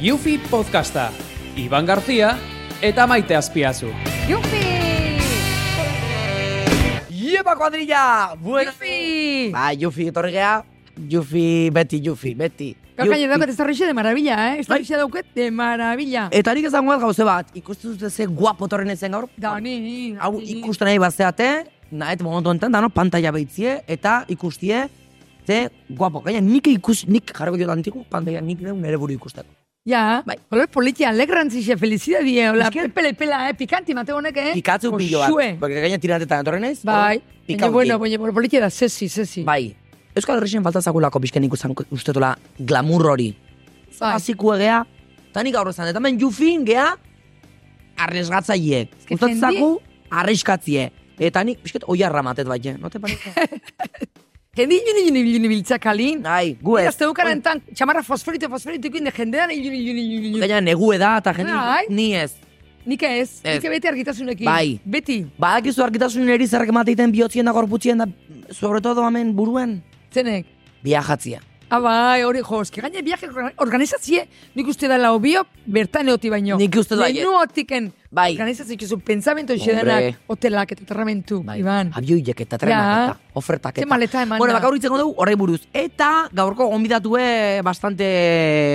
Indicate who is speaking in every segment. Speaker 1: Yufi Podcasta, Iban Garzia eta Maite Azpiazu.
Speaker 2: Yupi!
Speaker 3: Iepa kuadrilla! Buenas!
Speaker 2: Yupi!
Speaker 3: Ba, Jufi etorri gea. Jufi, beti Jufi, beti.
Speaker 2: Gaur
Speaker 3: Jufi.
Speaker 2: gaine daukat ez horrexe de maravilla, eh? Ez
Speaker 3: Bai.
Speaker 2: horrexe daukat de maravilla.
Speaker 3: Eta nik esan guaz gauze bat, ikusten dut ze guapo torren ezen gaur.
Speaker 2: Da, ni, ni.
Speaker 3: Hau
Speaker 2: ni, ni.
Speaker 3: ikusten nahi bazeate, nahet momentu enten, dano pantalla behitzie, eta ikustie, ze guapo. Gaina nik ikus, nik jarriko dut antiku, pantalla nik deu nere buru ikusteko.
Speaker 2: Ja,
Speaker 3: Bai.
Speaker 2: kolor politia, alegrantzia, felicidadie, hola,
Speaker 3: Esker.
Speaker 2: pele, pela, eh? Pikanti, mateo honek, eh?
Speaker 3: Pikatzu pilo bat.
Speaker 2: Josue.
Speaker 3: Porque gaina tiratetan etorri naiz.
Speaker 2: Bai, baina,
Speaker 3: pikauti.
Speaker 2: bueno, baina, bueno, politia da, sesi, sesi.
Speaker 3: Bai. Euskal Herrixen falta zakulako bizken ikusten ustetola glamur hori.
Speaker 2: Bai.
Speaker 3: Aziku egea, eta nik gaur esan, eta hemen jufin gea arriesgatzaiek.
Speaker 2: que
Speaker 3: Gustatzen
Speaker 2: jende-
Speaker 3: zaku arriskatzie. Eta nik, pixket, oi arramatet bai, eh? no te parece?
Speaker 2: Jendi ilun ilun ilun ibiltza kalin.
Speaker 3: Ai, Bai, gu ez.
Speaker 2: Azte dukaren tan, txamarra fosforito, fosforito ikuin de jendean ilun ilun ilun ilun.
Speaker 3: Gaina negue da, eta jende,
Speaker 2: Bai.
Speaker 3: ni ez.
Speaker 2: Nik ez,
Speaker 3: Ez.
Speaker 2: nik beti argitasunekin.
Speaker 3: Bai.
Speaker 2: Beti,
Speaker 3: Badakizu arkitasun eri zerrek mateiten bihotzien da gorputzien da, sobre todo hemen buruen,
Speaker 2: zenek.
Speaker 3: viajatzia.
Speaker 2: Ah, bai, hori jo, eski gaine viaje organizatzie, nik uste dela obio, bertan eoti baino.
Speaker 3: Nik uste dut baiet.
Speaker 2: Lehenu otiken,
Speaker 3: Bai.
Speaker 2: organizatzie, ikizu, pensamento
Speaker 3: Hombre.
Speaker 2: xedanak, hotelak eta terramentu,
Speaker 3: Bai.
Speaker 2: Iban.
Speaker 3: Abioiek eta trenak
Speaker 2: Ja.
Speaker 3: eta ofertak
Speaker 2: Ze
Speaker 3: eta.
Speaker 2: maleta eman
Speaker 3: Bueno,
Speaker 2: da.
Speaker 3: bakaur itzen dugu horrei buruz. Eta gaurko gonbidatue bastante...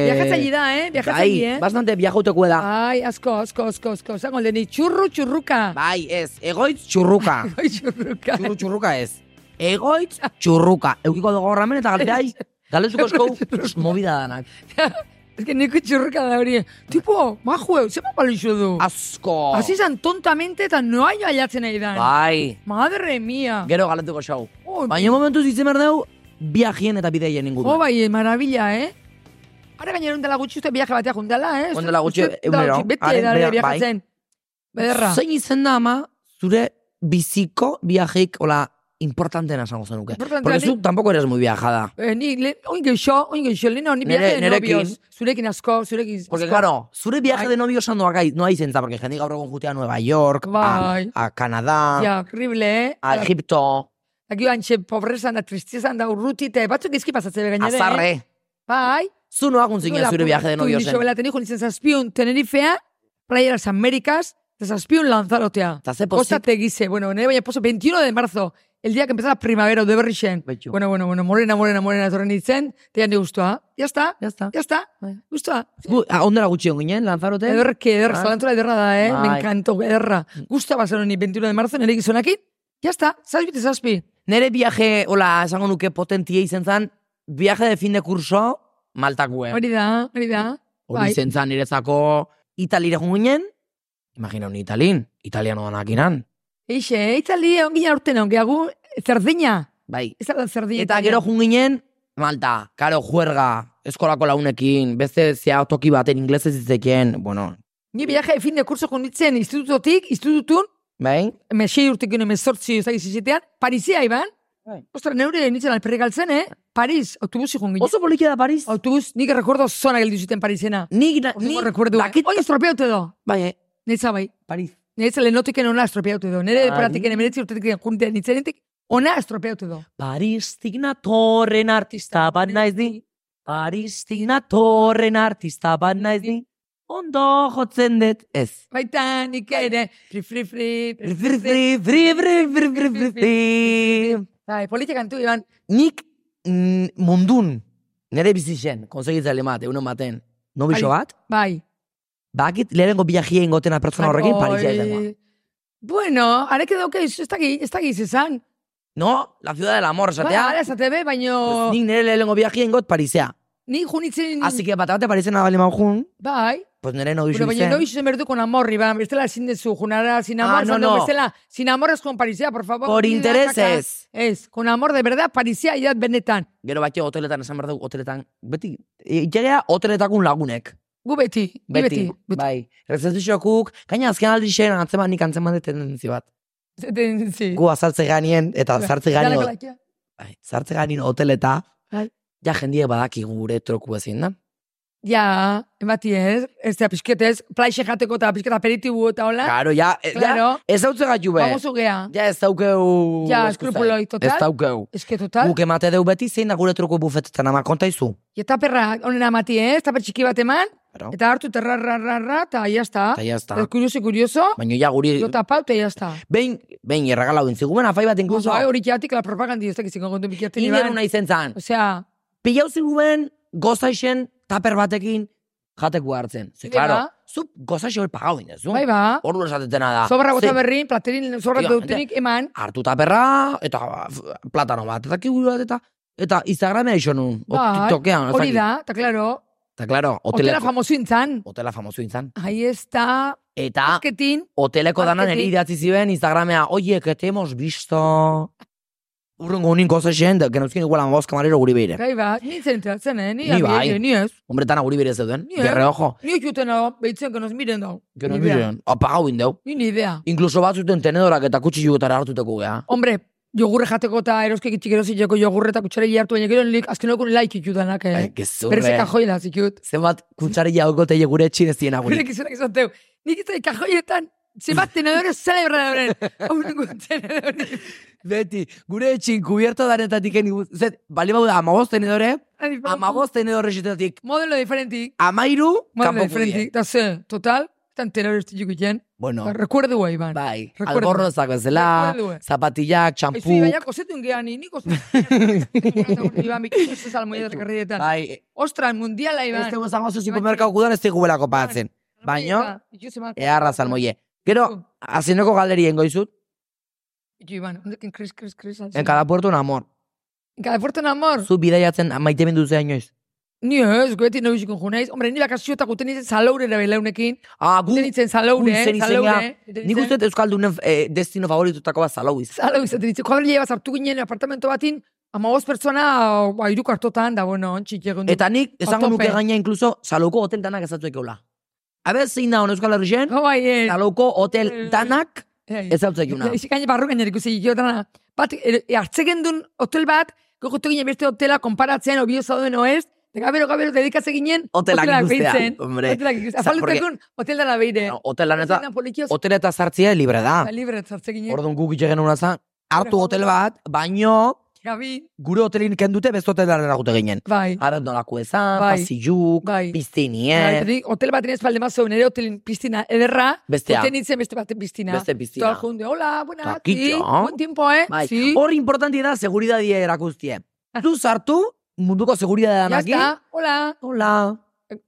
Speaker 2: Viajatzaile da, eh? Viajatzaile, eh?
Speaker 3: Bai, bastante viajautekue da.
Speaker 2: Ai, asko, asko, asko, asko, zango leheni, txurru, txurruka.
Speaker 3: Bai, ez, egoitz txurruka.
Speaker 2: Ai, txurruka.
Speaker 3: Txurru txurruka ez. Egoitz txurruka. Eukiko dugu horramen eta galderai, galdezuko eskou movida danak.
Speaker 2: Ez que niko txurruka da hori. Tipo, majue, ze papalo iso du?
Speaker 3: Ah, Asko.
Speaker 2: Así zan tontamente eta noaino ailatzen nahi dan.
Speaker 3: Bai.
Speaker 2: Madre mia.
Speaker 3: Gero galdetuko xau.
Speaker 2: Oh,
Speaker 3: Baina momentu zitzen behar dugu, viajien eta bideien
Speaker 2: Jo,
Speaker 3: inguru.
Speaker 2: bai, maravilla, eh? Ara gainera ondela gutxi uste viaje batea jundala, eh?
Speaker 3: Ondela gutxi,
Speaker 2: Uste- uste-
Speaker 3: egunero.
Speaker 2: Beti
Speaker 3: Haren,
Speaker 2: da ere
Speaker 3: bera, bai.
Speaker 2: viajatzen. Bederra.
Speaker 3: Zein izen da ama, zure biziko viajeik, hola, importantena esango zenuke.
Speaker 2: Importantea
Speaker 3: Porque
Speaker 2: ni-
Speaker 3: zu tampoco eres muy viajada.
Speaker 2: Eh, ni, le, oin geixo, oin geixo, lehena honi
Speaker 3: Nere-
Speaker 2: viaje de
Speaker 3: nerekin.
Speaker 2: novios. Zurekin asko, zurekin asko.
Speaker 3: Porque, claro, zure viaje
Speaker 2: Bai.
Speaker 3: de novio sandoak gai, no haizen za, porque jendik gaur egun jutea a Nueva York, a,
Speaker 2: Bai.
Speaker 3: a Canadá,
Speaker 2: Ja, horrible, eh?
Speaker 3: a Egipto,
Speaker 2: Aki hantxe pobrezan da, tristezan da, urrutite, batzuk izki pasatze begainera, eh?
Speaker 3: azarre.
Speaker 2: Bai.
Speaker 3: Zu no hagun zinen zure viaje de eh? novio
Speaker 2: Zu
Speaker 3: zen.
Speaker 2: bela tenijo nintzen zazpion Tenerifea, Playa de las ¿eh? Américas, de zazpion Lanzarotea.
Speaker 3: Eta ze
Speaker 2: Costa
Speaker 3: pozik.
Speaker 2: Teguise, bueno, nere baina pozo, 21 de marzo, el día que empezó la primavera, de Berrixen.
Speaker 3: Betxu.
Speaker 2: Bueno, bueno, bueno, morena, morena, morena, torren ditzen, tean de guztua. Ya está,
Speaker 3: Ya está.
Speaker 2: ya está, ¿ah?
Speaker 3: Bai.
Speaker 2: guztua.
Speaker 3: Gu, a, ondara gutxi hon ginen, lanzarote?
Speaker 2: Ederki, ederra,
Speaker 3: Bai.
Speaker 2: zalantola ederra da, eh?
Speaker 3: Bai.
Speaker 2: Me encanto, ederra.
Speaker 3: Mm.
Speaker 2: Guztua bazen honi, 21 de marzo, nere gizonakin, ya está, zazpi te zazpi.
Speaker 3: Nere viaje, hola, esango nuke potentia izen zan, viaje de fin de curso, maltakue.
Speaker 2: Hori da, hori da.
Speaker 3: Eh. Hori
Speaker 2: Bai.
Speaker 3: izen zan niretzako italire joan ginen, imagina honi italin, italiano danak inan.
Speaker 2: Eixe, itzali, ongina urten, ongeagu, zerdina.
Speaker 3: Bai.
Speaker 2: Ez da zerdina.
Speaker 3: Eta gero joan ginen, Malta, karo, juerga, eskolako launekin, beste zea toki baten inglesez zitzekien, bueno,
Speaker 2: Ni viaje de fin de curso konditzen institutotik, institutun,
Speaker 3: bai?
Speaker 2: mesei urtekin emezortzi ez dakiz izatean, Parizia iban,
Speaker 3: Bai.
Speaker 2: ostra, neure nintzen alperrik altzen, eh? Pariz, autobusi joan ginen.
Speaker 3: Oso polikia da Paris?
Speaker 2: Autobus, nik errekordo zona geldi zuten Parizena.
Speaker 3: Nik, na-
Speaker 2: Ni
Speaker 3: nik,
Speaker 2: recuerdo.
Speaker 3: dakit-
Speaker 2: Oin estropeaute do.
Speaker 3: Bai, eh,
Speaker 2: Neiza bai.
Speaker 3: Paris.
Speaker 2: Neiza lehenotiken ona estropeaute do. Nere
Speaker 3: Ari.
Speaker 2: pratiken emeretzi urtetik juntean nintzenetik, ona estropeaute do.
Speaker 3: Paristik natorren artista bat naiz ni. Paristik natorren artista bat naiz ni. Ondo jotzen dut. Ez.
Speaker 2: Baita nik ere, fri, fri, fri, fri,
Speaker 3: Fri, fri, fri, fri, fri, fri, fri, fri.
Speaker 2: Bai, politia kantu, Iban.
Speaker 3: Nik mm, mundun, nire bizitzen, konsegitzale mate, uno maten, nobixo
Speaker 2: Ari.
Speaker 3: bat,
Speaker 2: Bai.
Speaker 3: bakit lehenengo bilajia ingotena pertsona horrekin
Speaker 2: Bai,
Speaker 3: Parisia
Speaker 2: oi.
Speaker 3: izango.
Speaker 2: Bueno, arek dauke, ez dakiz, ez dakiz izan.
Speaker 3: No, la ciudad del amor,
Speaker 2: Ba, ara
Speaker 3: esatea.
Speaker 2: esate be, baino...
Speaker 3: Pues, nik nire lehenengo bilajia ingot Parisea.
Speaker 2: Ni junitzen...
Speaker 3: Así que bat bate Parisen abali maujun,
Speaker 2: Bai.
Speaker 3: pues nire
Speaker 2: Bueno,
Speaker 3: nobixo
Speaker 2: baina
Speaker 3: izen.
Speaker 2: no izen berdu con amor, Iván. ba, Bestela ezin dezu, junara, sin amor,
Speaker 3: Ah, no,
Speaker 2: no,
Speaker 3: no.
Speaker 2: Bestela, sin amor es con Parisea, por favor.
Speaker 3: Por
Speaker 2: Ni da,
Speaker 3: intereses.
Speaker 2: kaka. Ez, con amor de verdad, Parisea idat benetan.
Speaker 3: Gero bate hoteletan esan behar dugu, hoteletan, beti, itxegea hoteletakun lagunek.
Speaker 2: Gu beti, ni
Speaker 3: Beti,
Speaker 2: beti. beti.
Speaker 3: bai. Rezetuxokuk, gaina azken aldi xean antzeman nik antzeman dut tendentzi bat.
Speaker 2: Zaten, sí.
Speaker 3: Gu azaltze ganien, eta zartze ganien,
Speaker 2: Dana kalakia.
Speaker 3: bai, zartze ganien hoteleta,
Speaker 2: Bai.
Speaker 3: ja jendiek badaki gure troku ezin da.
Speaker 2: Ja, emati ez, ez da pixketez, plaixe jateko eta pixket aperitibu eta hola.
Speaker 3: Claro, ja, e, ja,
Speaker 2: Claro.
Speaker 3: ez dautze gaitu be.
Speaker 2: Vamos gea.
Speaker 3: Ja ez daukeu...
Speaker 2: Ja,
Speaker 3: eskuzai.
Speaker 2: eskrupuloi total. Bai.
Speaker 3: Ez daukeu.
Speaker 2: Ez que total.
Speaker 3: Guk emate deu beti zein da gure truko bufetetan ama kontaizu.
Speaker 2: Eta perra, honen amati ez, eta eh? txiki bat eman.
Speaker 3: Claro.
Speaker 2: Eta hartu, terra, ra, ra, ra, eta ya está.
Speaker 3: Eta ya está. Bai.
Speaker 2: El curioso, curioso,
Speaker 3: Baina ja guri...
Speaker 2: yo tapau, eta ya está.
Speaker 3: Behin, behin erragalau entzigun, afai bat inkluso.
Speaker 2: Ba, hori bai. kiatik, la propagandi, ez dakizin kontu bikiatzen
Speaker 3: Ineru
Speaker 2: iban.
Speaker 3: nahi zen zan.
Speaker 2: Osea,
Speaker 3: Pilau ziguen gozaixen taper batekin jateku hartzen. Ze,
Speaker 2: Ega.
Speaker 3: klaro, zu gozaixo hori pagau inezu.
Speaker 2: bai ba,
Speaker 3: Ordu esatetena da.
Speaker 2: sobra gota
Speaker 3: ze,
Speaker 2: berrin, platerin, sobra
Speaker 3: Efectivamente.
Speaker 2: dutenik, eman,
Speaker 3: Hartu taperra, eta f- platano bat, eta kibu bat, eta eta Instagramea iso nun, o
Speaker 2: Bai,
Speaker 3: TikTokean. ez
Speaker 2: hori
Speaker 3: dakit.
Speaker 2: da, eta klaro,
Speaker 3: Eta, klaro,
Speaker 2: hotela
Speaker 3: hoteleko,
Speaker 2: famosu intzan.
Speaker 3: hotela famosu intzan.
Speaker 2: Ahí
Speaker 3: Ah.
Speaker 2: está,
Speaker 3: Eta
Speaker 2: asketin,
Speaker 3: hoteleko danan eri
Speaker 2: marketing.
Speaker 3: idatzi ziben Instagramea, oye, que te hemos visto. Urrungo unin gozaixen, da, genuzkin igualan boz kamarero guri beire.
Speaker 2: gai ba, nintzen entratzen, eh? Ni,
Speaker 3: Ni bai.
Speaker 2: bai. Ni ez.
Speaker 3: Hombre, tana guri beire zeuden,
Speaker 2: Ni, eh?
Speaker 3: de reojo.
Speaker 2: Ni oituten behitzen, que nos miren dau.
Speaker 3: Que nos
Speaker 2: Ni idea.
Speaker 3: miren. Apagau indeu.
Speaker 2: Ni ni idea.
Speaker 3: Inkluso batzuten tenedorak eta kutsilugutara hartuteko gea.
Speaker 2: Hombre, jogurre jateko eta eroskik itxik erositeko jogurre eta kutsara hartu baina gero nik azken okun laik ikudanak, eh?
Speaker 3: Ai, gezurre.
Speaker 2: Berreze kajoila zikut.
Speaker 3: Zenbat kutsari jago teie gure etxin ez diena gure.
Speaker 2: Nik izunak izan teu. Nik izan kajoiletan, zebat tenedore celebra da Hau nungo tenedore.
Speaker 3: Beti, gure etxin kubierta danetatik eni guz. Zet, bali bau da, amaboz tenedore, amaboz tenedore xitatik,
Speaker 2: Modelo diferentik.
Speaker 3: amairu,
Speaker 2: Modelo
Speaker 3: kanpo
Speaker 2: diferentik.
Speaker 3: kubie.
Speaker 2: Eta ze, total, tan tenedore estiluk iten.
Speaker 3: Bueno,
Speaker 2: Recuerdo guai, Iban.
Speaker 3: bai,
Speaker 2: Recuerdo.
Speaker 3: albornozak bezala,
Speaker 2: Recuerdo, eh.
Speaker 3: zapatillak,
Speaker 2: Aizu,
Speaker 3: txampu.
Speaker 2: ibaiak osetun gehan, ni nik osetun gehan, bikin ez almoia eta karrietan.
Speaker 3: Bai,
Speaker 2: Ostra, mundiala,
Speaker 3: ez
Speaker 2: Iban.
Speaker 3: dugu zango zu supermerkau gudan ez dugu belako pagatzen. Este Baino, eharra zalmoie. Gero, azinoko galerien goizut,
Speaker 2: Yo, Iván, ¿dónde que en Cris, Cris, Cris?
Speaker 3: en cada puerto un amor.
Speaker 2: En cada puerta en amor.
Speaker 3: Zu bidaiatzen maite bindu inoiz.
Speaker 2: Ni ez, goetik nahi bizikun junaiz. Hombre, ni bakasio eta guten nintzen zalaurera belaunekin.
Speaker 3: Ah, gu,
Speaker 2: Guten nintzen zalaure,
Speaker 3: Gu izen
Speaker 2: eh,
Speaker 3: izena.
Speaker 2: zalaure. Guten
Speaker 3: Nik
Speaker 2: nintzen
Speaker 3: uste dut Euskaldunen eh, destino favoritutako bat zalau iz.
Speaker 2: Zalaure izaten nintzen. Kuadrilla bat sartu ginen apartamento batin, ama hoz pertsona, ba, iruko hartotan, da, bueno, ontsi egun.
Speaker 3: Eta nik, esango
Speaker 2: A tope.
Speaker 3: nuke gaina inkluso, zalauko hotel danak ezatuek eula. Habe, zein da hon Euskal Herrien,
Speaker 2: No, bai, eh.
Speaker 3: zalauko hotel
Speaker 2: Eh.
Speaker 3: danak
Speaker 2: eh,
Speaker 3: ezatuek euna.
Speaker 2: Izi gaine barru gainen ikusi jo dana. Bat, er, hartzen duen hotel bat, gogotu ginen beste hotela konparatzen, obio zauden oez, eta gabero, gabero, dedikatzen ginen,
Speaker 3: Hotelak ikustea,
Speaker 2: behitzen.
Speaker 3: hombre.
Speaker 2: Hotelak ikustea.
Speaker 3: Za- porque-
Speaker 2: Afaldutekun, hotel dana behire.
Speaker 3: Hotel lan eta,
Speaker 2: Hotel dan politioz,
Speaker 3: hotel eta zartzia libre da.
Speaker 2: eta libre zartzen ginen.
Speaker 3: Orduan guk itxe genuen azan, hartu hotel bat, baino
Speaker 2: Gabi,
Speaker 3: gure hotelin kendute beste hotel dara gute ginen.
Speaker 2: bai.
Speaker 3: Arret nolako ezan,
Speaker 2: Bai.
Speaker 3: pasiluk,
Speaker 2: Bai. Bai,
Speaker 3: piztinien,
Speaker 2: tenik Hotel bat inez balde mazo, nire hotelin piztina ederra,
Speaker 3: Bestea.
Speaker 2: hotel nintzen beste baten piztina.
Speaker 3: beste
Speaker 2: Toa
Speaker 3: piztina.
Speaker 2: junde, hola, buena, sí,
Speaker 3: Taquillo.
Speaker 2: buen tiempo, eh?
Speaker 3: Bai.
Speaker 2: Sí, Ah.
Speaker 3: Hor importanti da seguridadia erakustie. Zu sartu munduko seguridadea
Speaker 2: ya
Speaker 3: danakin.
Speaker 2: está, hola,
Speaker 3: Hola.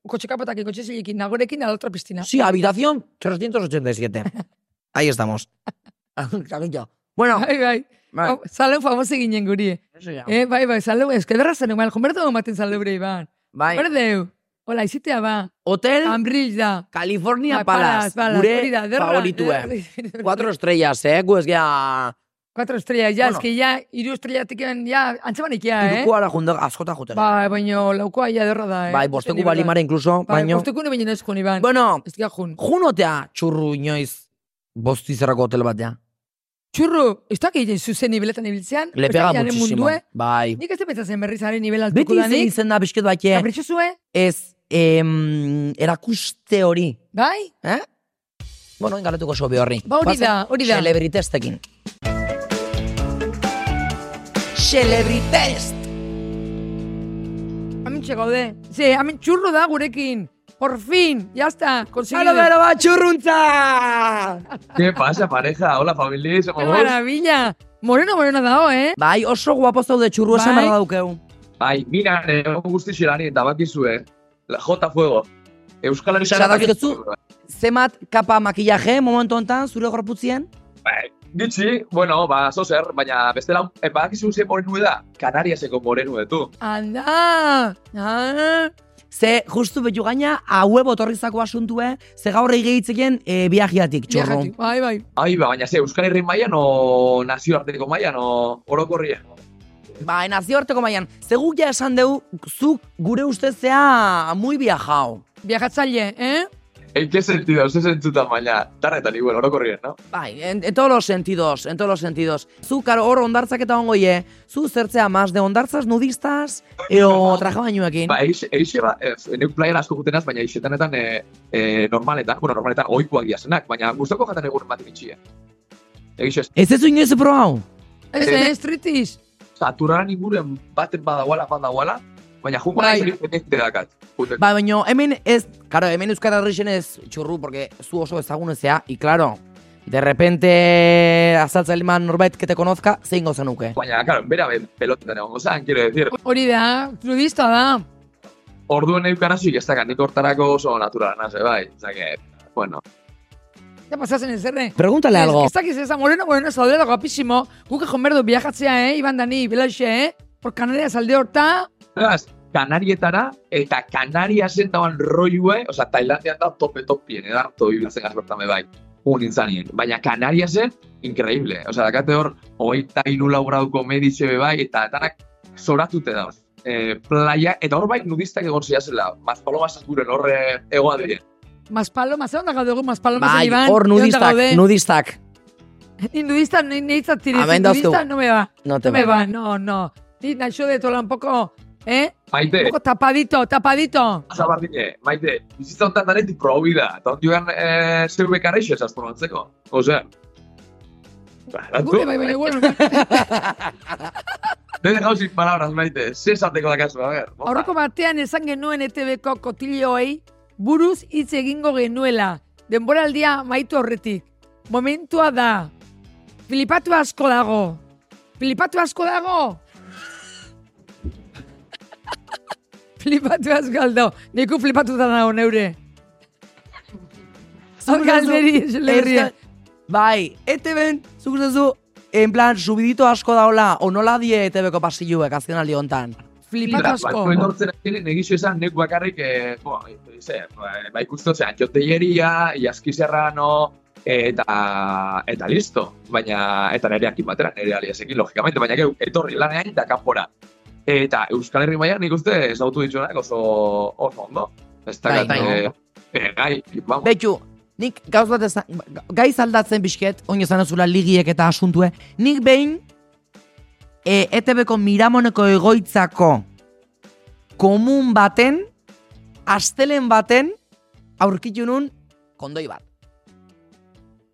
Speaker 2: kotxe kapotak, kotxe zilekin, nagorekin, alatra piztina.
Speaker 3: Sí, habitación 387. Ahí estamos. Cariño. bueno,
Speaker 2: Bai, bai.
Speaker 3: bai.
Speaker 2: Hau, Zaleu famoso ginen guri.
Speaker 3: Eso ya.
Speaker 2: Eh, bai, bai, zaleu, eske derra zen, eman, konbertu maten zaleu bre, Iban.
Speaker 3: Bai.
Speaker 2: Berdeu. Hola, izitea ba.
Speaker 3: Hotel
Speaker 2: Ambril da.
Speaker 3: California
Speaker 2: Bai, hori
Speaker 3: Palace.
Speaker 2: da,
Speaker 3: Gure eh.
Speaker 2: derra,
Speaker 3: favoritue.
Speaker 2: derra.
Speaker 3: Cuatro estrellas, eh? Gu ez gea...
Speaker 2: Cuatro estrellas, ja,
Speaker 3: Bueno.
Speaker 2: eske ja, iru estrellateken, ja, antzemanikia, eh?
Speaker 3: Iruko ara jundak askota jute. Bai,
Speaker 2: Ba, baino laukoa ia derra da, eh?
Speaker 3: bosteku bali mare incluso,
Speaker 2: Bai,
Speaker 3: baino.
Speaker 2: bosteko une baino ez jun, Iban.
Speaker 3: Bueno,
Speaker 2: Ez dira jun.
Speaker 3: junotea txurru inoiz bostizarako hotel batea.
Speaker 2: Txurru, ez da egiten zuzen nibeletan ibiltzean.
Speaker 3: Le
Speaker 2: ez
Speaker 3: pega
Speaker 2: dakit haren
Speaker 3: muchísimo.
Speaker 2: mundue.
Speaker 3: Bai.
Speaker 2: Nik ez depetzatzen berriz haren nibel altuko
Speaker 3: Beti eh?
Speaker 2: danik.
Speaker 3: izen izen da bizket
Speaker 2: Eta
Speaker 3: batxe.
Speaker 2: preciosue,
Speaker 3: Ez, em, erakuste hori.
Speaker 2: bai?
Speaker 3: Eh? Bueno, ingaletuko sobe horri.
Speaker 2: Ba, hori da, hori da.
Speaker 3: Celebritestekin. Celebritest!
Speaker 2: Amintxe gaude. Ze, amin txurru da gurekin. Por fin, ya está, conseguido.
Speaker 3: Zalo bero bat ba, txurruntza!
Speaker 4: ¿Qué pasa, pareja? Hola, familia.
Speaker 2: Qué
Speaker 4: ¿Somos vos?
Speaker 2: maravilla. Moreno, moreno dao, eh?
Speaker 3: Bai, oso guapo zaude txurru esan
Speaker 2: Bai.
Speaker 3: barra daukeu.
Speaker 4: Bai, mira, nire guzti xelani, eta bakizue. La J Fuego. Euskal Herrian...
Speaker 3: Badakitzu? Zemat kapa makillaje momentu honetan, zure gorputzien?
Speaker 4: Bai, Gitxi, bueno, ba, zozer, baina bestela, eh, badakizu ze morenu da? Kanariaseko morenu detu.
Speaker 2: Anda. Ah.
Speaker 3: Ze, justu betu gaina, haue botorrizako asuntue, ze gaur egeitzeken e, biagiatik, txurru.
Speaker 2: Viajatu. Bai, bai.
Speaker 4: Ai, ba, baina ze, Euskal Herri mailan o nazioarteko mailan o orokorrien.
Speaker 3: Ba, nazioarteko mailan, ze guk ja esan deu, zuk gure ustez zea muy viajao.
Speaker 2: Viajatzaile, eh?
Speaker 4: En qué sentido, ze zentzuta baina, tarretan igual, orokorrien, no?
Speaker 3: Bai, en, en todos los sentidos, en todos los sentidos. Zu, karo, hor ondartzak eta ongoie, zu zertzea más de ondartzas nudistas, eo traje bainuekin.
Speaker 4: Ba, eixe, eixe ba, eh, neuk playan asko gutenaz, baina eixetanetan e, e, normaletan, bueno, normaletan oikoak diazenak, baina guztoko jatan egun ematen itxie. Egixe,
Speaker 3: Ez ez inoiz probau.
Speaker 2: Ez,
Speaker 4: Eh.
Speaker 2: ez, tritis.
Speaker 4: Saturaren inguruan baten badauala, badauala, Baina jungo
Speaker 3: Bai.
Speaker 4: nahi independiente dakat. Juten.
Speaker 3: Ba, baino, hemen ez, karo, hemen Euskara Herrixen ez txurru, porque zu oso ezagun ezea, y claro, de repente azaltza eliman norbait que te conozca, zein goza nuke.
Speaker 4: Baina, claro, bera be- pelotetan egongo zan, quiero decir.
Speaker 2: Hori da, ludista da.
Speaker 4: Orduen eukan hasi, ez dakat, nik hortarako oso naturala naze, bai. Osa que, bueno.
Speaker 2: Ya pasasen el zerre.
Speaker 3: Pregúntale algo.
Speaker 2: Ez dakiz ez, moreno, moreno, zaudela guapísimo. Guk ejon berdu viajatzea, eh, Iban Dani, belaxe, eh. Por Canarias alde horta.
Speaker 4: Beraz, Kanarietara eta Kanariasen dagoen roiue, oza, Tailandian da tope topien, edarto ibiltzen gazbertame bai, un nintzanien. Baina Kanariasen, increíble. Oza, dakate hor, hogeita inula grauko medize be bai, eta etanak zoratute dauz. E, playa, eta hor bai nudistak egon zela, mazpalo basakuren horre egoaldean.
Speaker 2: Mas paloma, ze onda gaude gu, mas paloma,
Speaker 3: Bai,
Speaker 2: Iban.
Speaker 3: hor
Speaker 2: ze onda
Speaker 3: nudistak,
Speaker 2: gaude?
Speaker 3: nudistak.
Speaker 2: Hinduista, ni neitzat tiriz,
Speaker 3: Amen dauzku.
Speaker 2: hinduista no me va.
Speaker 3: No Ah, te
Speaker 2: No me
Speaker 3: va.
Speaker 2: va, no, no. Ni naixo de tola un poco, eh?
Speaker 4: Maite,
Speaker 2: Un poco tapadito, tapadito.
Speaker 4: zabardine, maite, bizitza honetan danetik probida, eta hon joan e, zeu bekarreixo esaz probantzeko. Osea, ba, erantzun.
Speaker 2: Gure bai, baina bueno.
Speaker 4: Te he dejado sin palabras, Maite. Sésate con la casa, a ver. bota.
Speaker 2: Aurreko batean esan genuen ETBko kotilioei buruz hitz egingo genuela. Denboraldia maitu horretik. Momentua da. Filipatu asko dago. Filipatu asko dago. Flipatu asko aldo. Niku flipatuta dago neure. Hor galderi
Speaker 3: Ez
Speaker 2: eslerria.
Speaker 3: da- Bai, ete ben, zuk uste zu, en plan, subidito asko daola, o nola die etebeko pasilluek azken aldi hontan.
Speaker 2: Flipatu
Speaker 4: Eta,
Speaker 2: asko.
Speaker 4: batzu etortzen ba, ari diren, egizio esan, nek bakarrik, eh, bo, ze, ba- ba ikusten zen, Antxo Telleria, Iaski Serrano, eh, eta, eta listo. Baina, eta nire hakin batera, nire aliasekin, logikamente, baina geu, etorri lanean eta kanpora. Eta Euskal Herri mailan nik uste ezagutu dituenak oso, oso ondo. Ez da,
Speaker 3: Bai,
Speaker 4: gai,
Speaker 3: no?
Speaker 4: eh, eh, gai, vamos.
Speaker 3: Betxu, nik gauz bat ezan, gaiz aldatzen bizket, oin ezan ezula ligiek eta asuntue, nik behin e, ETB-ko miramoneko egoitzako komun baten, astelen baten, aurkitu nun, kondoi bat.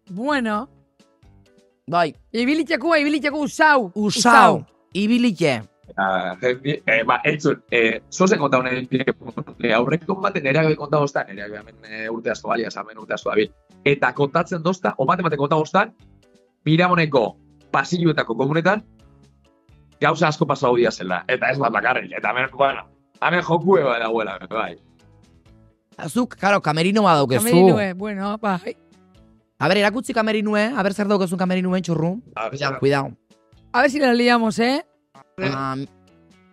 Speaker 2: Bueno.
Speaker 3: Bai,
Speaker 2: Ibilitxakua, ibilitxakua usau.
Speaker 3: usau, ibilite.
Speaker 4: Ah, jendi- eh, ba, entzun, eh, zozen konta honen eh, aurreko baten nire gabe konta goztan, nire gabe hemen eh, urte asko balia, hemen urte asko dabil. Eta kontatzen dozta, omate baten konta goztan, miramoneko pasilluetako komunetan, gauza asko pasau dia zela. Eta ez bat bakarrik, eta hemen, bueno, hemen jokue bat dagoela, bai.
Speaker 3: Zuk, karo, kamerino bat daukezu.
Speaker 2: Kamerinue, bueno, bai.
Speaker 3: A ber, erakutzi kamerinue, a ber zer daukezun kamerinuen txurru.
Speaker 4: A ver,
Speaker 3: Ja, cuidao.
Speaker 2: A ver si la liamos, eh?
Speaker 3: Ah,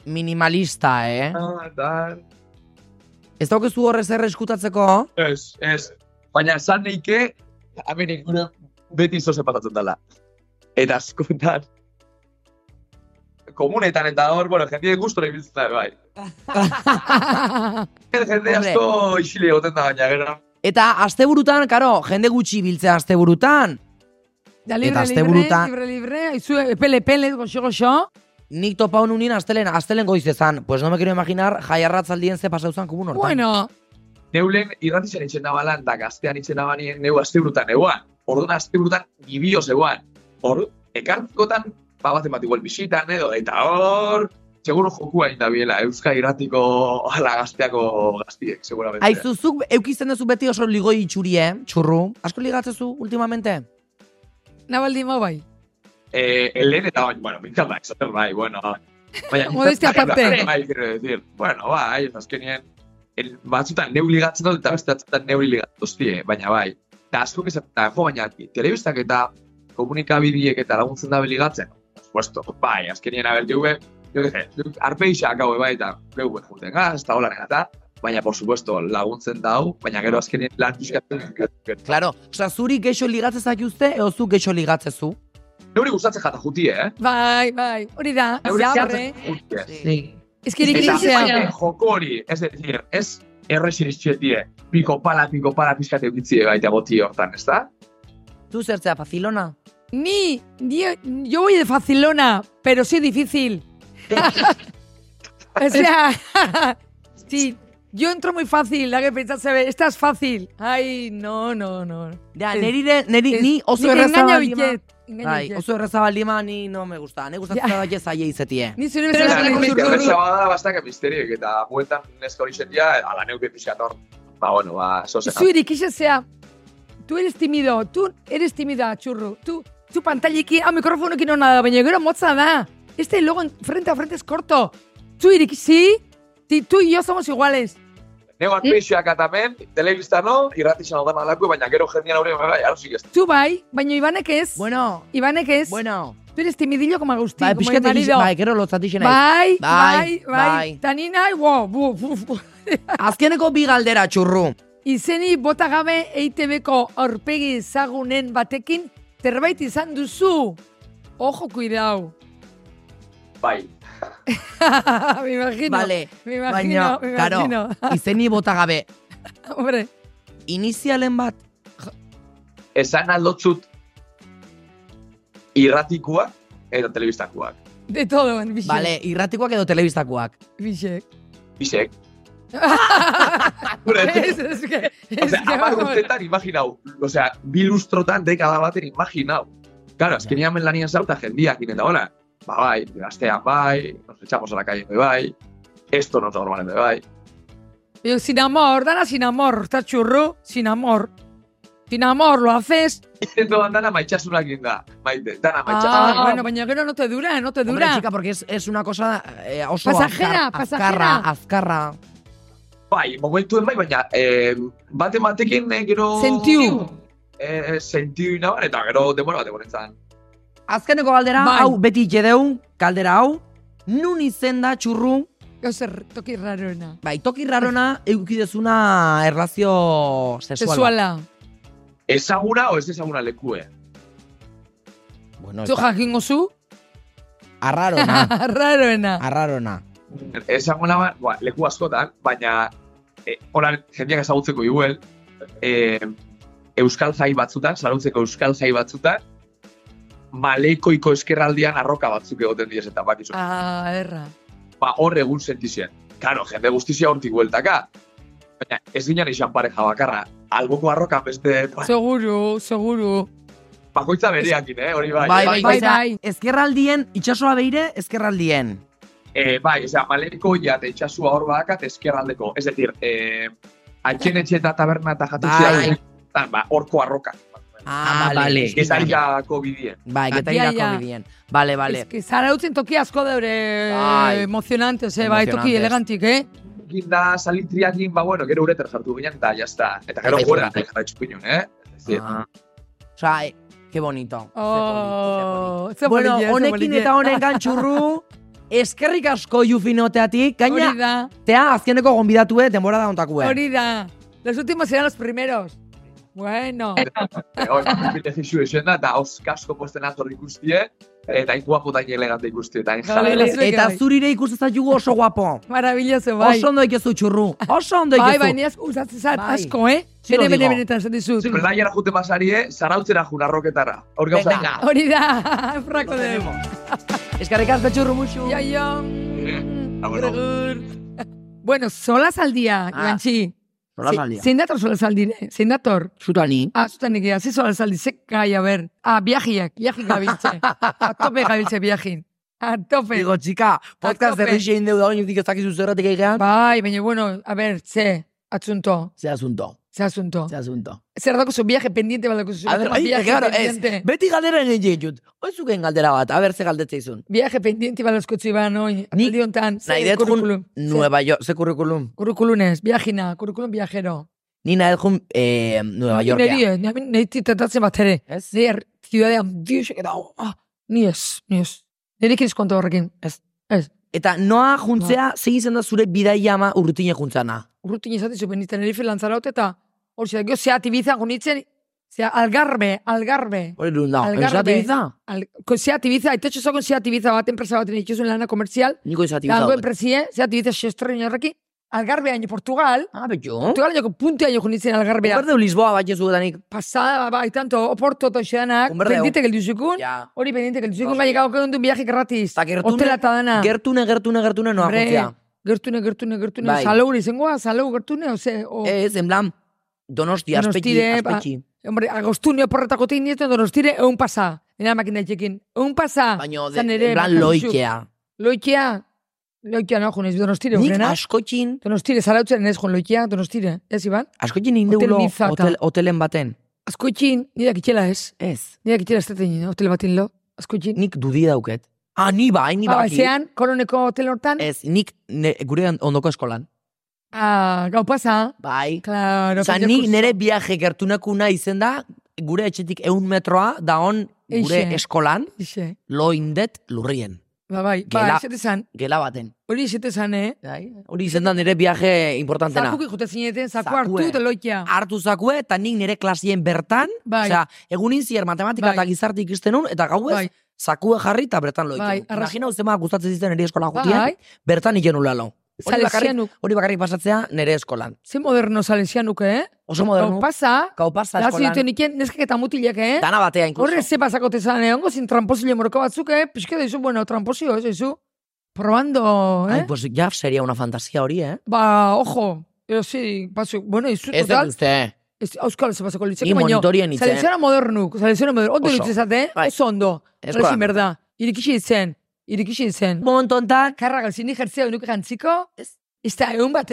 Speaker 3: minimalista, eh?
Speaker 4: ah, tal.
Speaker 3: Ez daukezu horrez zer eskutatzeko?
Speaker 4: Ez, ez. Baina esan neike, hemen ingure beti zoze pasatzen dela. Eta askotan, komunetan eta hor, bueno, jendea gustora ibiltzen da, bai. Jende
Speaker 3: Hombre.
Speaker 4: asko isile egoten da, baina gero.
Speaker 3: Eta asteburutan, karo, jende gutxi biltzea asteburutan.
Speaker 2: Da libre,
Speaker 3: Eta
Speaker 2: libre,
Speaker 3: asteburuta-
Speaker 2: libre, libre, aizue, pele, pele, goxo, goxo.
Speaker 3: Nik topa honun nien astelen, astelen goiz ezan. Pues no me quiero imaginar, jai arratzaldien ze pasauzan kubun hortan.
Speaker 2: Bueno,
Speaker 4: Neulen irratizan itxen nabalan, da gaztean itxen nabanien, neu asteburutan eguan. Orduan asteburutan nibio zegoan. Hor, ekartkotan, babatzen bat igual bisitan edo, eta hor, seguro jokua inda biela, Euska irratiko ala gazteako gaztiek, seguramente.
Speaker 3: Aizu, zuk eukizten duzu beti oso ligoi itxuri, eh? Txurru. Asko ligatzezu, ultimamente?
Speaker 2: nabaldi mo bai.
Speaker 4: Eh, Elen eta bain, bueno, pintan da, esaten bai, bueno. Baina,
Speaker 2: Modestia aparte.
Speaker 4: Bai, quiero decir, bueno, bai, ez azkenien, el, batzutan neu ligatzen dut eta beste batzutan neu ligatzen doztie, baina bai. Eta askok esaten da, jo, baina, telebistak eta komunikabidiek eta laguntzen da beligatzen, supuesto, bai, azkenien abel geue, jo que sé, arpeixak hau bai, eta geue juten gaz, eta hola eta, baina, por supuesto, laguntzen da hau, baina gero azkenien lan pixka
Speaker 3: Claro. Osa, zuri geixo ligatzezak uste, eo zu geixo ligatzezu.
Speaker 4: Neuri gustatzen jata jutie, eh?
Speaker 2: Bai, bai, hori da,
Speaker 4: Neuri
Speaker 2: zabre.
Speaker 4: zehatzen jutie.
Speaker 3: Sí.
Speaker 2: Ezkerik
Speaker 4: Eta
Speaker 2: izea.
Speaker 4: eh, joko hori, ez decir, ez errexin iztietie, piko pala, piko pala pizkate eukitzie baita goti hortan, ez da?
Speaker 3: Zu zertzea, pacilona?
Speaker 2: Ni, die- yo voy de facilona, pero sí difícil. o sea, sí, yo entro muy fácil, la que pensarse, "Ve, esta es fácil. Ay, no, no, no.
Speaker 3: Ja,
Speaker 2: Ez.
Speaker 3: neri, de, neri,
Speaker 2: Ez,
Speaker 3: ni oso
Speaker 2: nik
Speaker 3: erraza
Speaker 2: engaina
Speaker 3: baldin ba-
Speaker 2: bitet,
Speaker 3: Bai,
Speaker 2: engainatzen.
Speaker 3: oso erreza baldima ni no me gusta. Ne gustatzen
Speaker 2: Ja.
Speaker 3: da yes aie izetie.
Speaker 2: Ni zure
Speaker 4: Ez
Speaker 2: bezala
Speaker 4: da,
Speaker 2: zure
Speaker 4: nik
Speaker 2: zurrurru-
Speaker 4: erreza bada bastaka misterioek eta bueltan neska hori zentia, ala neuke pixat hor. Ba, bueno, ba,
Speaker 3: Ah.
Speaker 4: zozen.
Speaker 2: Zuri, ikixe zea, tu eres timido, tu eres timida, txurru. Tu, tu pantailiki, hau mikrofonokin hona da, baina gero motza da. Este logo en- frente a frente es corto. Zuri, sí, ti- tú y yo somos iguales.
Speaker 3: Hm?
Speaker 4: Negoan pixuak atamen, telebizta no, irrati zan odan alako, baina gero jendian aurre gara jarrozik ez.
Speaker 2: Tú bai, baina Ibanek ez.
Speaker 3: Bueno,
Speaker 2: Ibanek ez.
Speaker 3: bueno. pues,
Speaker 2: Tú eres timidillo como Agustín,
Speaker 3: Bai,
Speaker 2: como mi
Speaker 3: pixkat egin,
Speaker 2: marido.
Speaker 3: bai, gero lotzatik naiz.
Speaker 2: Bai, bai, bai.
Speaker 3: Bai, bai.
Speaker 2: Tanina, wow, bu, bu, bu. Ba-
Speaker 3: Azkeneko bi galdera txurru.
Speaker 2: Izeni bota gabe EITB-ko aurpegi ezagunen batekin zerbait izan duzu. Ojo, cuidao.
Speaker 4: Bai,
Speaker 2: me imagino.
Speaker 3: Vale,
Speaker 2: Me
Speaker 3: Baina,
Speaker 2: imagino, me
Speaker 3: karo,
Speaker 2: imagino.
Speaker 3: izeni bota gabe.
Speaker 2: Hombre,
Speaker 3: Inizialen bat,
Speaker 4: esan aldotzut irratikuak eta telebistakuak.
Speaker 2: de todo, en Bixek.
Speaker 3: bale, irratikoak edo telebistakoak.
Speaker 2: Bixek.
Speaker 4: Bisek.
Speaker 2: Es, es que, es
Speaker 4: Osea,
Speaker 2: que,
Speaker 4: amar
Speaker 2: vamos.
Speaker 4: urtetan imaginau. Osea, bi lustrotan dekada baten imaginau. Claro, azkenean ben lanian zauta jendiak eta hola. Ba bai, gaztean bai, nos echamos a la calle be bai, esto no es normal be bai.
Speaker 2: Digo, sin amor, Dana sin amor, está churro, sin amor. Sin amor, lo haces.
Speaker 4: Esto bandana maitxasunak inda, maite, dana
Speaker 2: Ah,
Speaker 4: maitxasunak.
Speaker 2: bueno, baina gero no te dura, no te
Speaker 3: Hombre,
Speaker 2: dura.
Speaker 3: chica, porque es, es una cosa eh, oso
Speaker 2: Pasajera,
Speaker 3: azkar-
Speaker 2: pasajera.
Speaker 3: azkarra, azkarra.
Speaker 4: Bai, momentuen bai, baina eh, baten batekin eh, gero...
Speaker 2: Sentiu.
Speaker 4: Eh, sentiu inabar, eta gero demora bat egon ezan.
Speaker 3: Azkeneko galdera,
Speaker 2: Bai.
Speaker 3: hau beti jedeu, galdera hau, nun izen da txurru,
Speaker 2: Gozer, toki raroena.
Speaker 3: bai, toki rarona eukidezuna erlazio sexual.
Speaker 2: Sexuala.
Speaker 4: Ezaguna o ez ezaguna lekue.
Speaker 3: Bueno,
Speaker 2: Zu
Speaker 3: eta,
Speaker 2: jakingo zu?
Speaker 3: arrarona,
Speaker 2: Ah, Raroena.
Speaker 3: arrarona.
Speaker 4: Ezaguna ba, ba, leku askotan, baina eh, hola jendeak ezagutzeko iguel, eh, euskal jai batzutan, sarautzeko euskal jai batzutan, maleikoiko eskerraldian arroka batzuk egoten diez eta bakizu.
Speaker 2: Ah, erra.
Speaker 4: Ba, hor egun sentizien. Karo, jende guztizia hortik bueltaka. Baina ez ginen izan pareja bakarra. Alboko arrokan beste...
Speaker 2: Seguru, seguru.
Speaker 4: Bakoitza bereakin, eh, hori bai.
Speaker 3: Bai, bai,
Speaker 2: bai,
Speaker 3: bai, bai.
Speaker 2: bai.
Speaker 3: Ezkerraldien, itxasoa beire, ezkerraldien.
Speaker 4: Eh, bai, osea, malekoia eta itxasua hor badakat ezkerraldeko. Ez decir, eh, atxenetxe eta taberna eta
Speaker 3: Bai.
Speaker 4: jatuzia. Bai. Ba, horko arroka.
Speaker 3: Ah, bale.
Speaker 4: Getailako bidien.
Speaker 3: Bai,
Speaker 2: Ja, ja.
Speaker 3: getairako bidien.
Speaker 2: Vale.
Speaker 3: Bale, bale.
Speaker 2: Es que zarautzen toki asko daure
Speaker 3: Bai.
Speaker 2: emocionantes, eh? Bai, toki
Speaker 3: Emocionantes.
Speaker 2: elegantik, eh?
Speaker 4: Ginda salitriakin, ba, bueno, gero uretan sartu ginen, eta jazta. Eta gero
Speaker 3: Bai,
Speaker 4: gora,
Speaker 3: bai.
Speaker 4: jarraitzu pinun, eh? Ez decir,
Speaker 3: Ah. Osea, eh, qué bonito. Ze bonito, ze
Speaker 2: Oh,
Speaker 3: bonito. Bueno, honekin eta honekan txurru, eskerrik asko jufinoteatik, gaina
Speaker 2: Hori da,
Speaker 3: Tea, azkeneko gonbidatue denbora da ontakue.
Speaker 2: hori da. Los últimos serán los primeros. Bueno,
Speaker 3: Eh,
Speaker 4: eh, Hor, bile jizu esen da, eta os kasko posten ator ikustie, eta hain guapo eta hain elegante ikustie, eta hain
Speaker 2: Bai,
Speaker 4: jale.
Speaker 2: bai. zuek
Speaker 3: Eta
Speaker 2: bai.
Speaker 3: zurire ikusten zaitugu oso guapo.
Speaker 2: maravilloso, bai.
Speaker 3: Oso ondo ikezu txurru. Oso ondo
Speaker 2: bai,
Speaker 3: ikezu.
Speaker 2: bai, ni asko usatzen zat,
Speaker 3: Bai.
Speaker 2: asko, eh?
Speaker 3: Zero
Speaker 2: Bene, bene,
Speaker 3: digo.
Speaker 2: benetan esan dizut.
Speaker 4: Playera jute mazarie, zarautzera jun arroketara. Hor gauza.
Speaker 3: Venga.
Speaker 2: Hori da, frako
Speaker 3: Lo
Speaker 2: de...
Speaker 3: tenemos. Eskerrik asko txurru muxu.
Speaker 2: Ja, ja.
Speaker 3: Eh,
Speaker 4: Ah, bueno.
Speaker 2: Bueno, sola zaldia,
Speaker 3: Ah,
Speaker 2: Iantxi.
Speaker 3: Nola saldia.
Speaker 2: Zein dator sola zaldire? Zein dator?
Speaker 3: Zuta ni.
Speaker 2: Ah, zutan egia, ze sola zaldi, ze kai, a ber. Ah, viajiak, viajik gabiltze. A tope gabiltze viajin. A tope.
Speaker 3: Digo, txika, podcast
Speaker 2: tope.
Speaker 3: de Rishi egin deuda oinutik ezakizu zerratik egean.
Speaker 2: Bai, baina, bueno, a ber, ze, atzunto,
Speaker 3: Ze asunto,
Speaker 2: ze asunto.
Speaker 3: ze asunto.
Speaker 2: Zer dakuzu viaje pendiente bat dakuzu.
Speaker 3: A ber,
Speaker 2: Beste
Speaker 3: oi,
Speaker 2: viaje
Speaker 3: claro, ez,
Speaker 2: pendiente.
Speaker 3: beti galdera egin ditut. Oizuken galdera bat, a ber, ze galdetze izun.
Speaker 2: Viaje pendiente bat dakuzu, Iban, oi.
Speaker 3: Ni-
Speaker 2: Aldi honetan, ze
Speaker 3: Nahi dut jun,
Speaker 2: curriculum, ze
Speaker 3: Nueva York, ze kurrikulum.
Speaker 2: Curriculumez, viajina, curriculum viajero.
Speaker 3: Ni nahi dut jun, eh, Nueva Yorkea.
Speaker 2: Neri, neri, neri tratatzen bat ere.
Speaker 3: Ez?
Speaker 2: Zer, ciudadean, diusek eta, oh, ah, ni ez, ni ez. Nerekin izkonto horrekin. Ez. Ez.
Speaker 3: Eta noa juntzea, no. zein izan da zure bidaia ama urrutine juntzana.
Speaker 2: Urrutin izate zuen, ni Tenerife lantzaraut eta, hor zera, gio zeat ibizan gonitzen, zera, algarbe, algarbe.
Speaker 3: Hori dut da,
Speaker 2: Algarve.
Speaker 3: esate biza?
Speaker 2: Al, ko, zeat ibiza, aitetxo zagon zeat ibiza bat enpresa baten itxuzun lana komertzial,
Speaker 3: Niko esate
Speaker 2: eta
Speaker 3: biza.
Speaker 2: algo
Speaker 3: dut.
Speaker 2: enpresie, zeat ¿eh? ibiza xestorren horrekin, algarbe hain Portugal,
Speaker 3: Ah, betxo.
Speaker 2: Portugal hainoko puntea jo gonitzen algarbea.
Speaker 3: Berdeu Lisboa bat jezu danik.
Speaker 2: Pasada, bai, tanto, oporto eta xedanak,
Speaker 3: Konberdeo.
Speaker 2: pendite gelduzukun,
Speaker 3: Ja.
Speaker 2: Hori pendiente, que el chico
Speaker 3: Noski.
Speaker 2: me ha llegado con un viaje gratis.
Speaker 3: Ta gertune-
Speaker 2: Hotela eta dana.
Speaker 3: Gertune, gertune, gertune noa
Speaker 2: Ah. Hombre,
Speaker 3: juntzea.
Speaker 2: Gertune, gertune, gertune.
Speaker 3: Bai.
Speaker 2: Salou hori zengoa, salou gertune, oze, o,
Speaker 3: Ez, en plan, donosti,
Speaker 2: Donostire,
Speaker 3: aspetxi,
Speaker 2: Oh. ba-
Speaker 3: aspetxi.
Speaker 2: hombre, agostunio porretako tein nieto donostire egun pasa. eramakin daitekin. Egun pasa,
Speaker 3: Baina, de,
Speaker 2: zan ere,
Speaker 3: plan
Speaker 2: bakarrik zuk.
Speaker 3: loikea.
Speaker 2: Loikea, loikea no, junez, donostire,
Speaker 3: Nik
Speaker 2: horrena.
Speaker 3: askotxin,
Speaker 2: Donostire, zarautzen ez, jon, loikea, donostire, ez, Iban?
Speaker 3: askotxin indeulo
Speaker 2: Hotel Nizaka.
Speaker 3: hotel, hotelen baten.
Speaker 2: Azkoitxin, nidak itxela ez.
Speaker 3: Ez,
Speaker 2: Nidak itxela ez daten, hotel batin lo. Azkoitxin.
Speaker 3: nik dudi dauket. Ah, ni ba, hain ni
Speaker 2: Ba,
Speaker 3: baki. Eh.
Speaker 2: ezean, koroneko hotel hortan,
Speaker 3: Ez, nik ne, gure on- ondoko eskolan.
Speaker 2: ah, gau pasa.
Speaker 3: Bai.
Speaker 2: Claro,
Speaker 3: Osa,
Speaker 2: fin de
Speaker 3: nik
Speaker 2: curso.
Speaker 3: nire viaje gertunakuna izen da, gure etxetik eun metroa, da on gure
Speaker 2: Eixe.
Speaker 3: eskolan,
Speaker 2: Ixe.
Speaker 3: loindet lurrien.
Speaker 2: Ba, bai,
Speaker 3: Gela.
Speaker 2: ba, esetezan,
Speaker 3: Gela baten.
Speaker 2: hori esetezan, eh?
Speaker 3: Bai. Hori izen da nire viaje importantena.
Speaker 2: Zakuk ikute zineten, zaku
Speaker 3: Zakue. Ah.
Speaker 2: hartu eta loikia.
Speaker 3: hartu zakue, eta nik nire klasien bertan,
Speaker 2: Bai.
Speaker 3: osea, egun intziar matematika
Speaker 2: Bai.
Speaker 3: eta gizarte ikisten nun, eta gauez,
Speaker 2: Bai.
Speaker 3: zakue jarri eta bertan loitu.
Speaker 2: Bai, arras-
Speaker 3: Imagina zema gustatzen zizten nire eskola
Speaker 2: Bai.
Speaker 3: jutien, bertan hile nula lau. Hori bakarrik,
Speaker 2: Salesianuk.
Speaker 3: hori bakarrik pasatzea nire eskolan.
Speaker 2: Ze moderno salesianuk, eh?
Speaker 3: Oso modernu.
Speaker 2: Gau pasa,
Speaker 3: Gau pasa
Speaker 2: lazi duten
Speaker 3: eskolan.
Speaker 2: iken, neskak eta mutilek, eh?
Speaker 3: Dana batea
Speaker 2: Horre
Speaker 3: inkluso.
Speaker 2: ze pasako tezan, eh? Ongo zin tramposile moroko batzuk, eh? Piske da izu, bueno, tramposio, ez izu. Probando, eh?
Speaker 3: Ai, pues ja seria una fantasia hori, eh?
Speaker 2: Ba, ojo, ero zi, pasu, bueno, izu
Speaker 3: Ez dut
Speaker 2: total,
Speaker 3: uste, eh?
Speaker 2: ez, auskal ze pasako litzek,
Speaker 3: Ni monitorien nintzen.
Speaker 2: Salesiano modernuk, salesiano modernu, ondo
Speaker 3: Oso.
Speaker 2: litzez zate,
Speaker 3: Bai.
Speaker 2: oso ondo.
Speaker 3: Eskolan.
Speaker 2: Horrezin berda, irikixi itzen, irikixi itzen.
Speaker 3: Momentu honetan,
Speaker 2: Karra galzin jertzea nuke jantziko,
Speaker 3: Ez.
Speaker 2: ez da egun bat,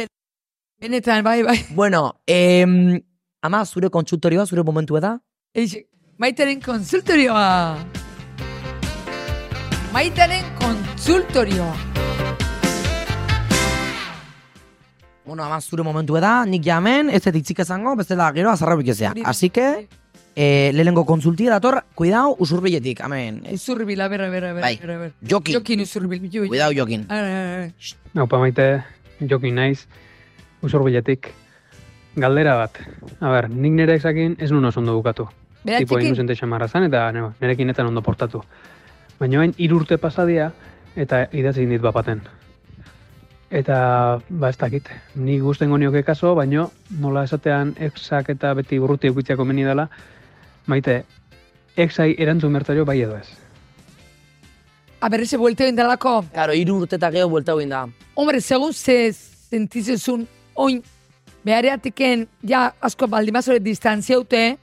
Speaker 2: benetan, bai, bai.
Speaker 3: bueno, em, ama, zure kontsultorioa, zure momentua da?
Speaker 2: Eixe, maitaren konsultorioa. Maitaren konsultorioa.
Speaker 3: Bueno, ama, zure momentua da, nik jamen, ez ez itzik esango, bestela gero azarra bikezea.
Speaker 2: Hori da.
Speaker 3: Así que, eh, lehenengo konsultia dator, cuidao, usurbiletik, amen. Ez,
Speaker 2: Izurbil, eh, a ber, a ber, a ber,
Speaker 3: Bai.
Speaker 2: a ber, a ber.
Speaker 3: Jokin,
Speaker 2: Jokin izurbil, bitu, bitu.
Speaker 3: cuidao jokin.
Speaker 2: Ara, ara, ara.
Speaker 5: Haupa maite, jokin naiz, usurbiletik. Galdera bat. A ber, nik nire exakin ez nun oso ondo bukatu. Tipo
Speaker 2: Beratzekin,
Speaker 5: inusente xamarra zan eta nire, nirekin etan ondo portatu. Baina hain irurte pasadia eta idatzi indit bapaten. Eta, ba ez dakit, ni gustengo nioke kaso, baino nola esatean exak eta beti urruti eukitziako meni dela, maite, exai erantzun bertario bai edo ez.
Speaker 2: a berriz buelte bendalako.
Speaker 3: Karo, hiru urte eta geho buelta hogin da.
Speaker 2: Hombre, segun ze sentizezun, oin, behareatiken, ja, asko baldimazore distantziaute,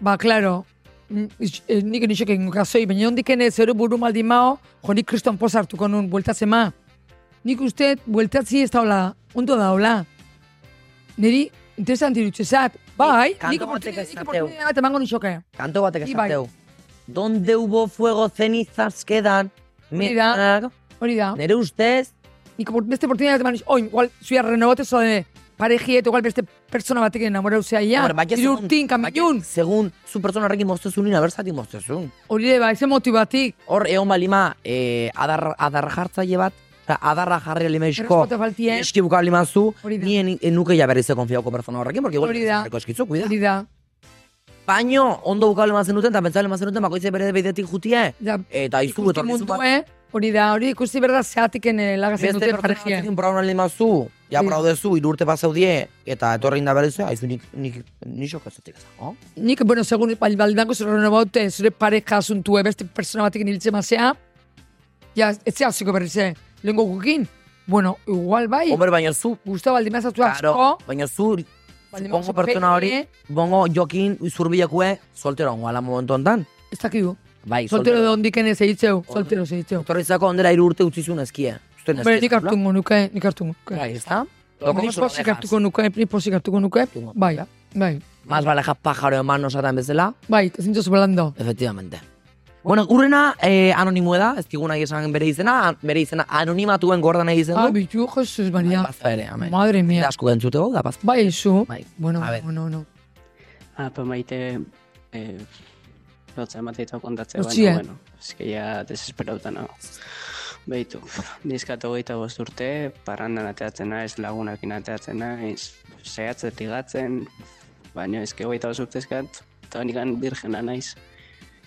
Speaker 2: ba, klaro, mm, is- eh, nik nixek egingo kasoi, baina hondiken ez ero buru maldimao, jo nik kriston posa hartuko nun, bueltatzema. Nik uste, bueltatzi ez daula, ondo daula. Neri, interesanti dutxe zat, bai,
Speaker 3: kantu
Speaker 2: nik
Speaker 3: batek
Speaker 2: oportunidade
Speaker 3: esateu.
Speaker 2: bat emango nixoke.
Speaker 3: Kanto batek
Speaker 2: Ibai.
Speaker 3: esateu. Donde hubo fuego cenizas quedan.
Speaker 2: Mira.
Speaker 3: Mira,
Speaker 2: Hori da,
Speaker 3: nere ustez,
Speaker 2: nik opor- beste oportunidade bat emango nixoke. Oin, igual, zuia renovate zode, parejiet, igual beste pertsona batekin enamorau zeaia,
Speaker 3: Hombre, baina segun-
Speaker 2: irurtin, kamion,
Speaker 3: segun, zu pertsonarrekin moztezun, inabertzatik moztezun.
Speaker 2: Hori ere, ba, eze motibatik.
Speaker 3: Hor, egon balima, eh, adar, adar jartzaile bat, Osa, adarra jarri alimeizko,
Speaker 2: Errespeto faltien.
Speaker 3: eski bukal limazu,
Speaker 2: Hori da.
Speaker 3: nien e, nuke ja berriz konfiauko pertsona horrekin, porque igual
Speaker 2: Hori da.
Speaker 3: ezarriko eskitzu, cuida.
Speaker 2: Hori da.
Speaker 3: Baino, ondo bukal limazen duten, eta pentsal limazen duten, bakoitze bere bidetik jutie,
Speaker 2: Ja,
Speaker 3: eta izu
Speaker 2: ikusi
Speaker 3: etorkizu bat.
Speaker 2: mundue, hori da, hori ikusi berda zehatiken eh, lagazen
Speaker 3: Beste
Speaker 2: dute
Speaker 3: pertsona
Speaker 2: parejien.
Speaker 3: batekin braun aldi mazu, ja
Speaker 2: Sí.
Speaker 3: braudezu, irurte pasaudie, eta etorri inda berrizu, haizu nik, nik, nixok ez dut ikasa, oh?
Speaker 2: Nik, bueno, segun, bal- baldango zure renobaute, zure pareja asuntu, beste persona batekin hiltze mazea, ja, ez zea hasiko berriz, eh, lehenko gukin, bueno, igual bai,
Speaker 3: Hombre, baina zu,
Speaker 2: guztua baldin mazatu
Speaker 3: Claro,
Speaker 2: asko,
Speaker 3: baina zu,
Speaker 2: Baldin
Speaker 3: bongo
Speaker 2: baduzu
Speaker 3: pertsona hori,
Speaker 2: peine.
Speaker 3: bongo jokin zurbilakue soltero ongo ala momentu ontan.
Speaker 2: ez dakigu.
Speaker 3: Bai,
Speaker 2: Soltero
Speaker 3: soltero.
Speaker 2: da ondiken ez egitzeu, soltero ez egitzeu.
Speaker 3: Etorri zako ondera hiru urte utzizun ezkia. Zuten
Speaker 2: Hombre, nik
Speaker 3: ezkia, zula?
Speaker 2: hartungo nuke, nik hartungo nuke.
Speaker 3: Bai, ez da?
Speaker 2: Nik posik hartuko nuke, nik posik hartuko nuke, bai, bai,
Speaker 3: Más vale ja pájaro eman osatan bezala,
Speaker 2: bai, ezin duzu belando.
Speaker 3: efectivamente. Bueno, urrena eh, anonimue da, ez diguna esan bere izena, an- bere izena anonimatuen gordan egin
Speaker 2: Ah,
Speaker 3: zen du.
Speaker 2: bitu, Jesus,
Speaker 3: Bai,
Speaker 2: Maria.
Speaker 3: Pazka ere, amen.
Speaker 2: Madre mía.
Speaker 3: Eta asko entzuteko, da pazka.
Speaker 2: Bai, zu.
Speaker 3: Bai.
Speaker 2: Bueno,
Speaker 3: A ver.
Speaker 2: bueno, bueno.
Speaker 6: Ah, pues maite, eh, lotza emateitza kontatzea,
Speaker 2: Lotzie.
Speaker 6: baina, bueno, eske ja desesperauta nago. Beitu, nizkatu hogeita bost urte, parrandan ateatzen naiz, lagunakin ateatzen naiz, zehatzetik gatzen, baina eske hogeita bost urte eskat, eta nikan birgena naiz.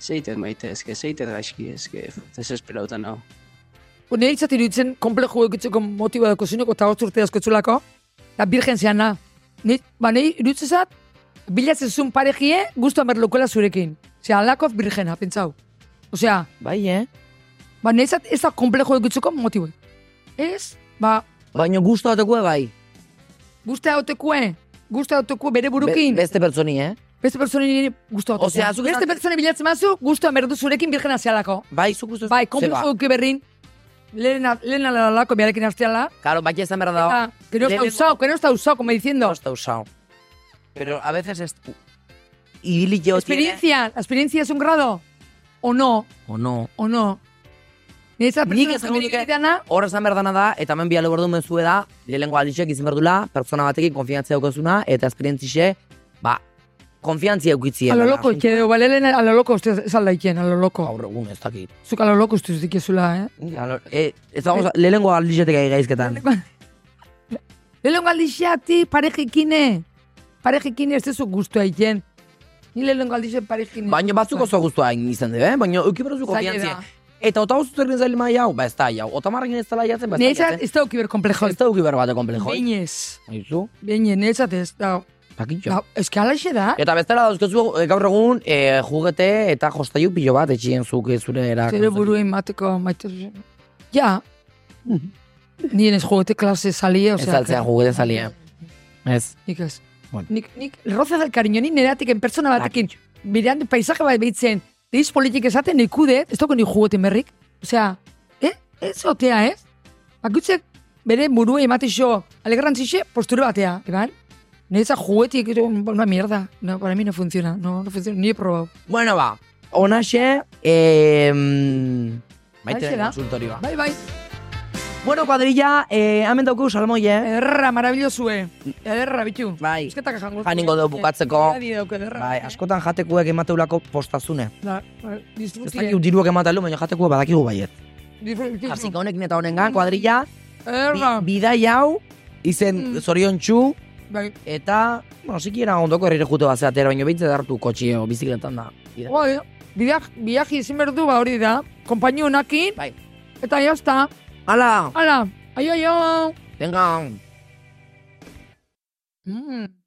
Speaker 6: Zeitet maite, eske zeitet gaizki, eske desesperauta nago.
Speaker 2: Une hitzat iruditzen komplejo egitzeko motiba dako zineko eta hotz urte askotzulako. Eta birgen zean na. Ni, ba, nahi iruditzen zat, bilatzen zuen parejie, guztuan berlokuela zurekin. Osea, alakoz birgena, pentsau. Osea,
Speaker 3: Bai, eh?
Speaker 2: ba, nahi zat ez da komplejo egitzeko motiba. Ez, ba,
Speaker 3: Baina gustu batekue bai.
Speaker 2: guztia otekue, guztia otekue bere
Speaker 3: Be-
Speaker 2: burukin.
Speaker 3: beste pertsoni, eh?
Speaker 2: Beste pertsonei guztua.
Speaker 3: Osea, zuk
Speaker 2: beste
Speaker 3: esan-
Speaker 2: pertsonei bilatzen bazu, guztua merdu zurekin birgen azialako.
Speaker 3: Bai, zuk uste...
Speaker 2: Bai,
Speaker 3: Ze
Speaker 2: konplexu
Speaker 3: ba.
Speaker 2: duke berrin, lehen alalako biarekin hasteala,
Speaker 3: Claro, bai, esan behar dago.
Speaker 2: eta, ah, que no está
Speaker 3: Lehenengo-
Speaker 2: usado, que no está usado, como
Speaker 3: No
Speaker 2: diciendo,
Speaker 3: está usado. Pero a veces es... Ibili yo tiene...
Speaker 2: experiencia, la experiencia es un grado, o no,
Speaker 3: O no.
Speaker 2: o no. Nire
Speaker 3: Nik
Speaker 2: pertsona
Speaker 3: esango
Speaker 2: zuen
Speaker 3: nuke-
Speaker 2: dana,
Speaker 3: Hor esan behar dana da, eta hemen biale berdun mezue da, lehenko aldixek izan behar dula, pertsona batekin konfiantzia daukozuna, eta esperientzixe, ba, konfiantzia eukitzie.
Speaker 2: a lo loco, que de balelen a lo loco, uste salda ikien, a lo loco.
Speaker 3: Gaur egun, ez dakit.
Speaker 2: Zuk a lo loco uste dikezula, eh?
Speaker 3: A lo- E, ez dago, lehenko aldixetek gaizketan.
Speaker 2: Lehenko aldixeati parejikine, parejikine ez dezu guztua ikien. Ni lehenko aldixeak parejikine.
Speaker 3: Baina batzuk oso guztua hain izan dira, eh? baina euki behar duzu
Speaker 2: Zaila da.
Speaker 3: konfiantzia. Eta ota hau zuzerren zaila mai hau, ba ez da hau. Ota marrekin ez dela jatzen, ba ez da
Speaker 2: Niretzat
Speaker 3: jatzen.
Speaker 2: ez da okiber komplejo.
Speaker 3: Ez da euki behar eh? bate komplejo.
Speaker 2: Beinez.
Speaker 3: Aizu,
Speaker 2: Beinez, niretzat ez da.
Speaker 3: takitxo.
Speaker 2: Da, Ez que alaxe da.
Speaker 3: Eta bestela dauzkezu eh, gaur egun eh, jugete eta jostaiu pilo bat etxien zuk eh, zure erak.
Speaker 2: Zere buruen mateko maite zuzen.
Speaker 3: Mm-hmm.
Speaker 2: Ja. Nien ez juguete klase salie,
Speaker 3: Ez
Speaker 2: osea.
Speaker 3: altzea jugete zalia. Ez.
Speaker 2: Nik ez.
Speaker 3: Bueno.
Speaker 2: Nik, nik, roza del cariño, ni neratik en pertsona batekin. Birean paisaje bat behitzen, deiz politik esaten nik ude, ez doko nik jugueten berrik. Osea, eh? Ez otea, ez? Bakutzek bere burua ematexo alegrantzixe postura batea, eban? Neza juguetik, eh, una mierda. No, para mí no funciona, no, no funciona, ni he probado.
Speaker 3: Bueno, ba. Onaxe, eh, maite
Speaker 2: Haixe da.
Speaker 3: konsultorioa.
Speaker 2: Bai, bai.
Speaker 3: Bueno, kuadrilla, eh, hemen daukegu salmoie. eh.
Speaker 2: Ederra, marabilozue. Ederra, bitu.
Speaker 3: Bai.
Speaker 2: Esketak jango.
Speaker 3: Janingo dugu bukatzeko.
Speaker 2: Adi dauk, ederra.
Speaker 3: Bai, askotan jatekuek emateulako postazune.
Speaker 2: Da,
Speaker 3: Ez dakik diruak ematelu, baina jatekuek badakigu bai, eh. baiet.
Speaker 2: disfrutien.
Speaker 3: Así que honekin eta honengan, kuadrilla, bi,
Speaker 2: Ederra.
Speaker 3: bidai hau, izen
Speaker 2: Mm.
Speaker 3: zorion txu,
Speaker 2: Bai.
Speaker 3: eta, bueno, sikiera ondoko herrire jute bat zeatera, baina behintzat hartu kotxio, bizikletan da. Bidai.
Speaker 2: Bai, bideak, bideak izin behar du, ba hori da. Kompainu honakin.
Speaker 3: Bai.
Speaker 2: Eta jazta.
Speaker 3: Hala,
Speaker 2: Hala, aio, aio.
Speaker 3: venga.
Speaker 2: Mm.